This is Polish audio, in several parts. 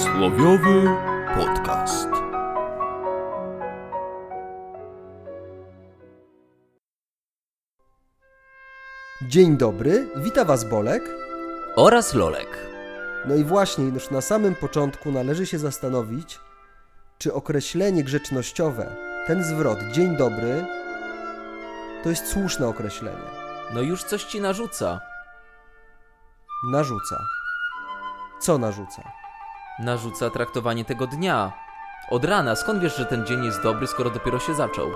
Przysłowiowy podcast. Dzień dobry, wita Was Bolek. oraz Lolek. No i właśnie, już na samym początku należy się zastanowić, czy określenie grzecznościowe, ten zwrot dzień dobry, to jest słuszne określenie. No już coś ci narzuca. Narzuca. Co narzuca? Narzuca traktowanie tego dnia. Od rana, skąd wiesz, że ten dzień jest dobry, skoro dopiero się zaczął?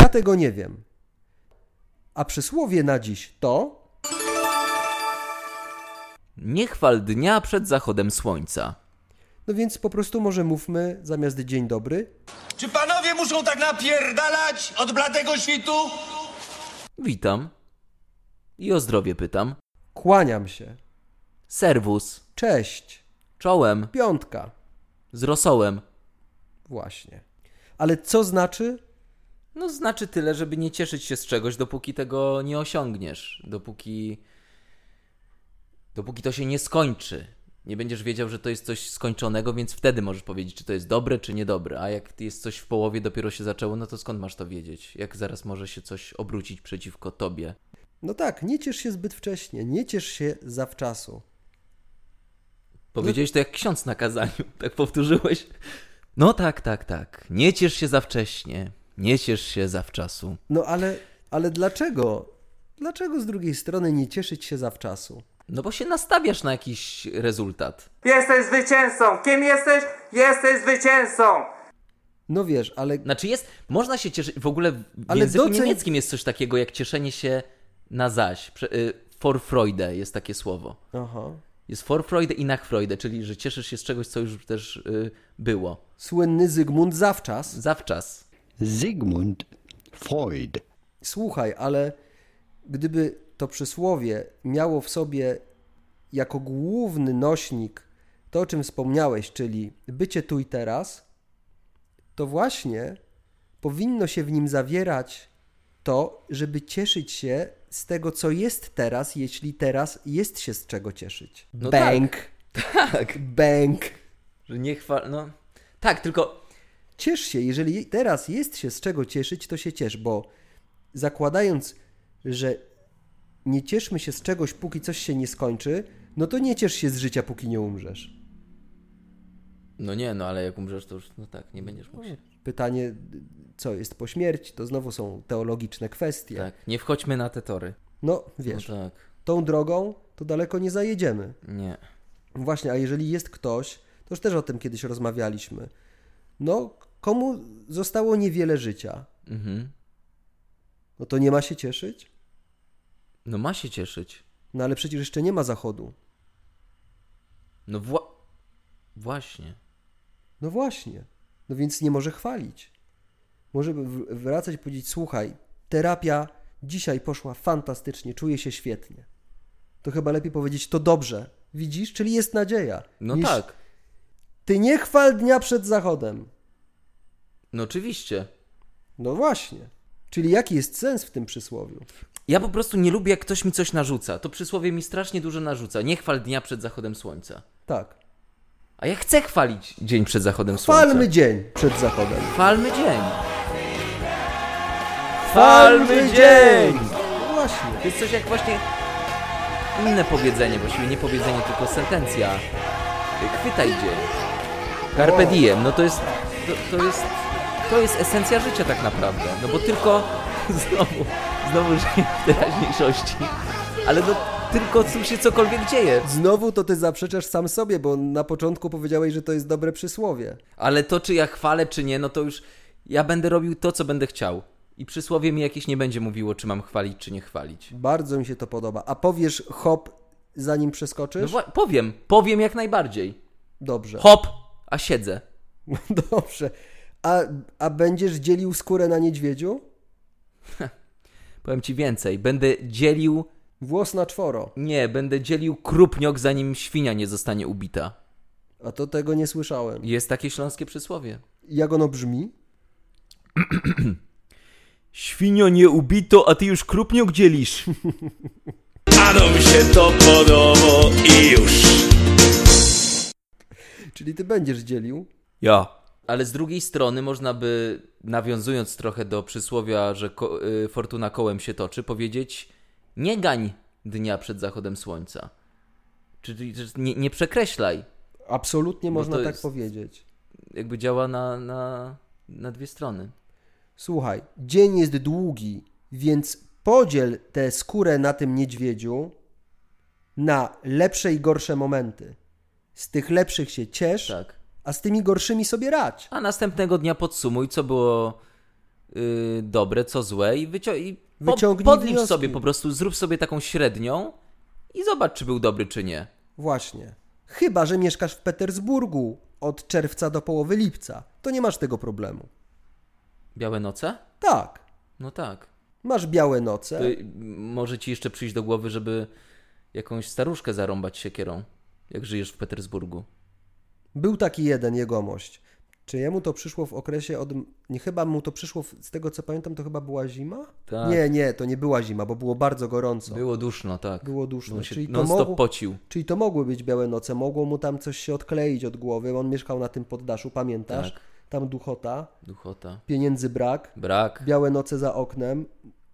Ja tego nie wiem. A przysłowie na dziś to. Nie chwal dnia przed zachodem słońca. No więc po prostu może mówmy zamiast dzień dobry. Czy panowie muszą tak napierdalać od bladego świtu? Witam. I o zdrowie pytam. Kłaniam się. Serwus. Cześć. Czołem. Piątka. Z rosołem. Właśnie. Ale co znaczy No znaczy tyle, żeby nie cieszyć się z czegoś, dopóki tego nie osiągniesz. Dopóki... Dopóki to się nie skończy. Nie będziesz wiedział, że to jest coś skończonego, więc wtedy możesz powiedzieć, czy to jest dobre, czy niedobre. A jak jest coś w połowie, dopiero się zaczęło, no to skąd masz to wiedzieć? Jak zaraz może się coś obrócić przeciwko tobie? No tak, nie ciesz się zbyt wcześnie, nie ciesz się zawczasu. Powiedziałeś to jak ksiądz na kazaniu, tak powtórzyłeś. No tak, tak, tak. Nie ciesz się za wcześnie, nie ciesz się za wczasu. No ale, ale dlaczego? Dlaczego z drugiej strony nie cieszyć się zawczasu? No bo się nastawiasz na jakiś rezultat. Jesteś zwycięzcą! Kim jesteś? Jesteś zwycięzcą! No wiesz, ale Znaczy jest, można się cieszyć, w ogóle w Ale języku doceń- niemieckim jest coś takiego jak cieszenie się na zaś. Prze, y, for Freude jest takie słowo. aha, Jest for Freude i nach Freude, czyli że cieszysz się z czegoś, co już też y, było. słynny Zygmunt zawczas. Zawczas. Zygmunt Freud. Słuchaj, ale gdyby to przysłowie miało w sobie jako główny nośnik to, o czym wspomniałeś, czyli bycie tu i teraz, to właśnie powinno się w nim zawierać to, żeby cieszyć się z tego, co jest teraz, jeśli teraz jest się z czego cieszyć. No Bęk, Tak. bęk. Że nie chwal... No. Tak, tylko Ciesz się, jeżeli teraz jest się z czego cieszyć, to się ciesz, bo zakładając, że nie cieszmy się z czegoś, póki coś się nie skończy, no to nie ciesz się z życia, póki nie umrzesz. No nie, no ale jak umrzesz, to już no tak, nie będziesz mógł się. Pytanie, co jest po śmierci, to znowu są teologiczne kwestie. Tak, nie wchodźmy na te tory. No No wiesz, tak, tą drogą to daleko nie zajedziemy. nie. Właśnie, a jeżeli jest ktoś, to już też o tym kiedyś rozmawialiśmy, no komu zostało niewiele życia, Mhm. no to nie ma się cieszyć? No ma się cieszyć. No ale przecież jeszcze nie ma zachodu. No wła... Właśnie. No właśnie. No więc nie może chwalić. Może w- wracać i powiedzieć: Słuchaj, terapia dzisiaj poszła fantastycznie, czuję się świetnie. To chyba lepiej powiedzieć: To dobrze. Widzisz? Czyli jest nadzieja. No niż tak. Ty nie chwal dnia przed zachodem. No oczywiście. No właśnie. Czyli jaki jest sens w tym przysłowiu? Ja po prostu nie lubię, jak ktoś mi coś narzuca. To przysłowie mi strasznie dużo narzuca. Nie chwal dnia przed zachodem słońca. Tak. A ja chcę chwalić dzień przed zachodem słońca. Chwalmy dzień przed zachodem. Chwalmy dzień. No właśnie. To jest coś jak właśnie inne powiedzenie, właściwie nie powiedzenie, tylko sentencja. Chwytaj dzień. Carpe diem, no to jest, to, to jest, to jest esencja życia tak naprawdę. No bo tylko, znowu, znowu żyję w teraźniejszości, ale no tylko tu się cokolwiek dzieje. Znowu to ty zaprzeczasz sam sobie, bo na początku powiedziałeś, że to jest dobre przysłowie. Ale to, czy ja chwalę, czy nie, no to już ja będę robił to, co będę chciał. I przysłowie mi jakieś nie będzie mówiło, czy mam chwalić, czy nie chwalić. Bardzo mi się to podoba. A powiesz hop, zanim przeskoczysz? No wła- powiem, powiem jak najbardziej. Dobrze. Hop, a siedzę. Dobrze. A, a będziesz dzielił skórę na niedźwiedziu? Powiem ci więcej, będę dzielił, Włos na czworo. nie, będę dzielił krupniok, zanim świnia nie zostanie ubita. A to tego nie słyszałem. Jest takie śląskie przysłowie. Jak ono brzmi? Świnio nie ubito, a ty już krupniok dzielisz. Panom się to podoba i już. Czyli ty będziesz dzielił. Ja. Ale z drugiej strony można by, nawiązując trochę do przysłowia, że ko- y, fortuna kołem się toczy, powiedzieć nie gań dnia przed zachodem słońca. Czyli też nie, nie przekreślaj. Absolutnie Bo można No to tak jest- powiedzieć. Jakby działa na, na, na dwie strony. Słuchaj, dzień jest długi, więc podziel tę skórę na tym niedźwiedziu na lepsze i gorsze momenty. Z tych lepszych się ciesz, Tak. a z tymi gorszymi sobie radź. A następnego dnia podsumuj, co było y, dobre, co złe i, wycio- i po- Wyciągnij podlicz wnioski. sobie po prostu, zrób sobie taką średnią i zobacz, czy był dobry, czy nie. Właśnie. Chyba, że mieszkasz w Petersburgu od czerwca do połowy lipca, to nie masz tego problemu. Białe noce? Tak, No tak. masz białe noce. To y, może ci jeszcze przyjść do głowy, żeby jakąś staruszkę zarąbać siekierą, jak żyjesz w Petersburgu. Był taki jeden jegomość. Czy jemu to przyszło w okresie od... Nie, chyba mu to przyszło, w... z tego co pamiętam, to chyba była zima? Tak. Nie, nie, to nie była zima, bo było bardzo gorąco. Było duszno, tak. Było duszno, On się czyli to non-stop mogło- pocił. Czyli to mogły być białe noce, mogło mu tam coś się odkleić od głowy. On mieszkał na tym poddaszu, pamiętasz? Tak. Tam duchota, Duchota. pieniędzy brak, Brak. białe noce za oknem,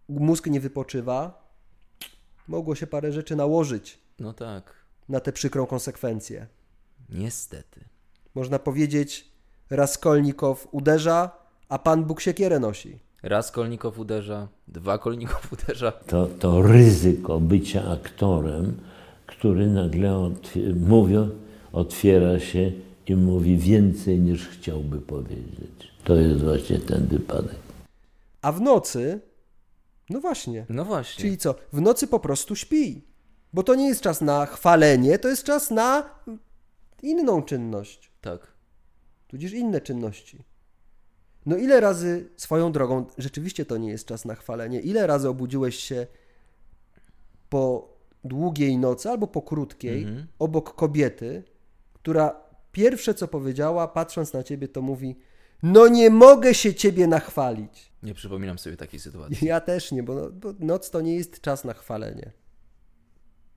mózg nie wypoczywa. Mogło się parę rzeczy nałożyć No tak. na tę przykrą konsekwencję. Niestety. Można powiedzieć, Raskolnikow uderza, a Pan Bóg siekierę nosi. Raz kolnikow uderza, dwa kolnikow uderza. to, to ryzyko bycia aktorem, który nagle otw- mówiąc, otwiera się i mówi więcej niż chciałby powiedzieć. To jest właśnie ten wypadek. A w nocy, no właśnie, No właśnie. Czyli co? W nocy po prostu śpi. Bo to nie jest czas na chwalenie, to jest czas na inną czynność, Tak. tudzież inne czynności. No ile razy swoją drogą, rzeczywiście to nie jest czas na chwalenie, ile razy obudziłeś się po długiej nocy albo po krótkiej obok kobiety, która pierwsze co powiedziała, patrząc na ciebie, to mówi: No nie mogę się ciebie nachwalić. Nie przypominam sobie takiej sytuacji. Ja też nie, bo, no, bo noc to nie jest czas na chwalenie.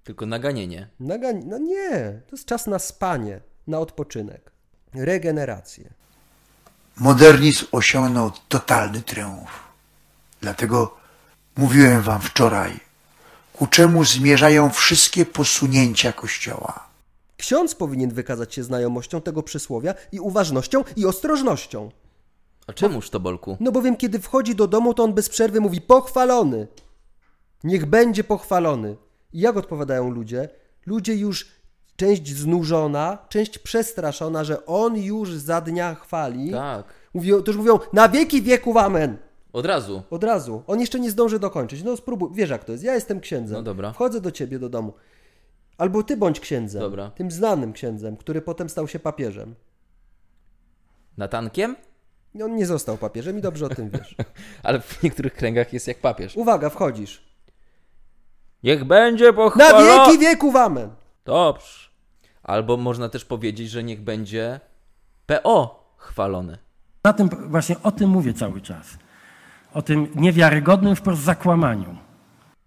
Tylko naganienie. Nagań... No nie, to jest czas na spanie, na odpoczynek, regenerację. Modernizm osiągnął totalny triumf. Dlatego mówiłem wam wczoraj, ku czemu zmierzają wszystkie posunięcia Kościoła. Ksiądz powinien wykazać się znajomością tego przysłowia i uważnością i ostrożnością. A czemuż to, Bolku? No bowiem kiedy wchodzi do domu, to on bez przerwy mówi pochwalony. Niech będzie pochwalony. I jak odpowiadają ludzie? Ludzie już część znużona, część przestraszona, że on już za dnia chwali. Tak. Mówią, to już mówią na wieki wieków amen. Od razu. Od razu. On jeszcze nie zdąży dokończyć. No spróbuj. Wiesz jak to jest. Ja jestem księdzem. No dobra. Wchodzę do ciebie do domu. Albo ty bądź księdzem. Dobra. Tym znanym księdzem, który potem stał się papieżem. Natankiem? I On nie został papieżem i dobrze o tym wiesz. Ale w niektórych kręgach jest jak papież. Uwaga, wchodzisz. Niech będzie Na pochwalony. wieki wieków amen. Dobrze. Albo można też powiedzieć, że niech będzie PO chwalony. Na tym, właśnie o tym mówię cały czas. O tym niewiarygodnym wprost zakłamaniu.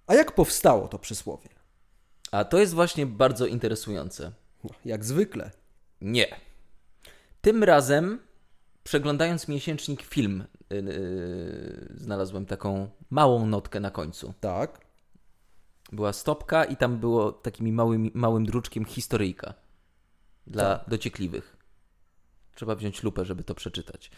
A jak powstało to przysłowie? A to jest właśnie bardzo interesujące. No, jak zwykle. Nie. Tym razem, przeglądając miesięcznik film, yy, yy, znalazłem taką małą notkę na końcu. Tak. Była stopka i tam było takim małym, małym druczkiem historyjka dla Tak. dociekliwych. Trzeba wziąć lupę, żeby to przeczytać.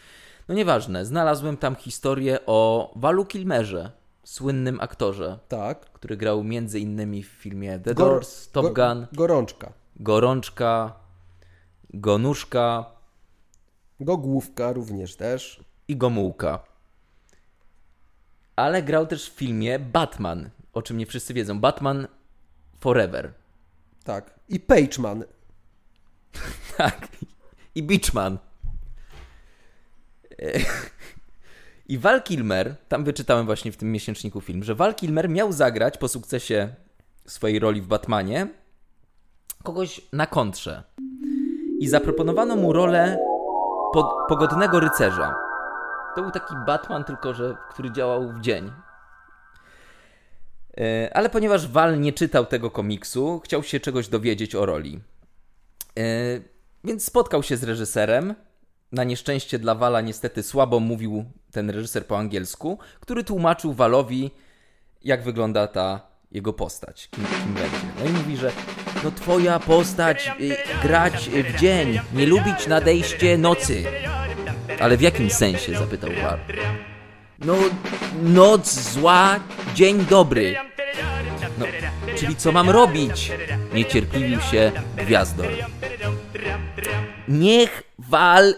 No nieważne, znalazłem tam historię o Walu Kilmerze, słynnym aktorze, Tak. który grał między innymi w filmie The Gor- Doors, Top go- Gun, Gorączka. Gorączka, Gonuszka Gogłówka również też. i Gomułka. Ale grał też w filmie Batman, o czym nie wszyscy wiedzą. Batman Forever. Tak. I Pageman. Tak. I Beachman. E, I Val Kilmer, tam wyczytałem właśnie w tym miesięczniku film, że Val Kilmer miał zagrać po sukcesie swojej roli w Batmanie kogoś na kontrze. I zaproponowano mu rolę pod, pogodnego rycerza. To był taki Batman, tylko że który działał w dzień. E, Ale ponieważ Val nie czytał tego komiksu, chciał się czegoś dowiedzieć o roli. E, Więc spotkał się z reżyserem. Na nieszczęście dla Wala niestety słabo mówił ten reżyser po angielsku, który tłumaczył Walowi, jak wygląda ta jego postać, kim, kim będzie. No i mówi, że no twoja postać y, grać y, w dzień, nie lubić nadejście nocy. Ale w jakim sensie, zapytał Val. No, noc zła, dzień dobry. No, czyli co mam robić? Niecierpliwił się Gwiazdor. Niech wal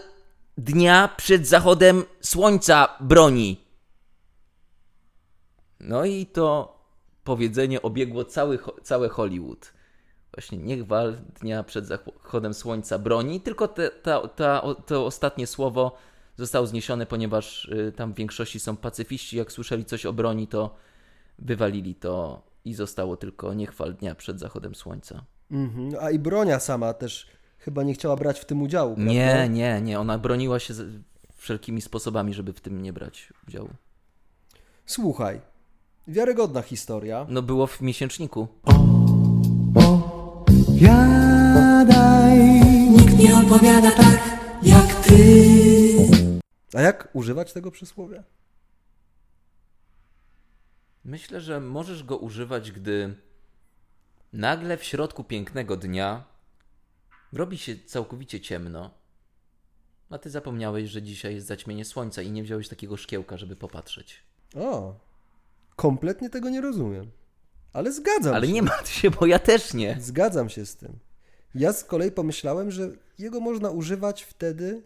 dnia przed zachodem słońca broni. No i to powiedzenie obiegło cały, ho- całe Hollywood. Właśnie niech wal dnia przed zachodem słońca broni, tylko te, ta, ta, o, to ostatnie słowo zostało zniesione, ponieważ y, tam w większości są pacyfiści. Jak słyszeli coś o broni, to wywalili to i zostało tylko niech wal dnia przed zachodem słońca. Mhm. A i bronia sama też chyba nie chciała brać w tym udziału. Prawda? Nie, nie, nie. Ona broniła się z- wszelkimi sposobami, żeby w tym nie brać udziału. Słuchaj, wiarygodna historia. No było w miesięczniku. Nikt nie opowiada tak jak ty. A jak używać tego przysłowia? Myślę, że możesz go używać, gdy nagle w środku pięknego dnia robi się całkowicie ciemno, a ty zapomniałeś, że dzisiaj jest zaćmienie słońca i nie wziąłeś takiego szkiełka, żeby popatrzeć. O, kompletnie tego nie rozumiem. Ale zgadzam Ale się. nie martw się, bo ja też nie. Zgadzam się z tym. Ja z kolei pomyślałem, że jego można używać wtedy,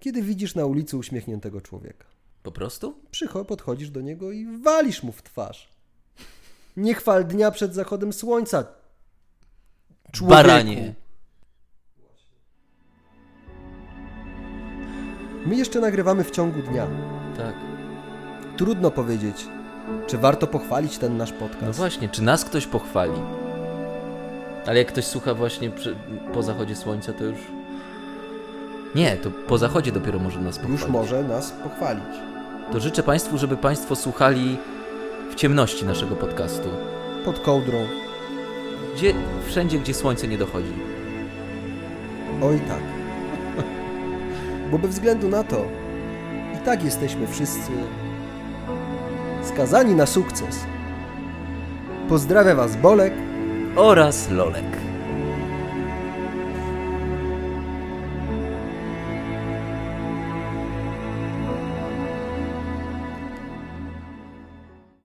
kiedy widzisz na ulicy uśmiechniętego człowieka. Po prostu? Przycho, podchodzisz do niego i walisz mu w twarz. Nie chwal dnia przed zachodem słońca. Człowieku. Baranie. My jeszcze nagrywamy w ciągu dnia. Tak. Trudno powiedzieć, czy warto pochwalić ten nasz No podcast. właśnie, czy nas ktoś pochwali? Ale jak ktoś słucha właśnie przy, po zachodzie słońca, to już. Nie, to po zachodzie dopiero może nas pochwalić. Już może nas pochwalić. To życzę Państwu, żeby Państwo słuchali w ciemności naszego podcastu. Pod kołdrą. Gdzie, wszędzie, gdzie słońce nie dochodzi. Oj tak. Bo bez względu na to, i tak jesteśmy wszyscy skazani na sukces. Pozdrawiam Was Bolek. Oraz lolek.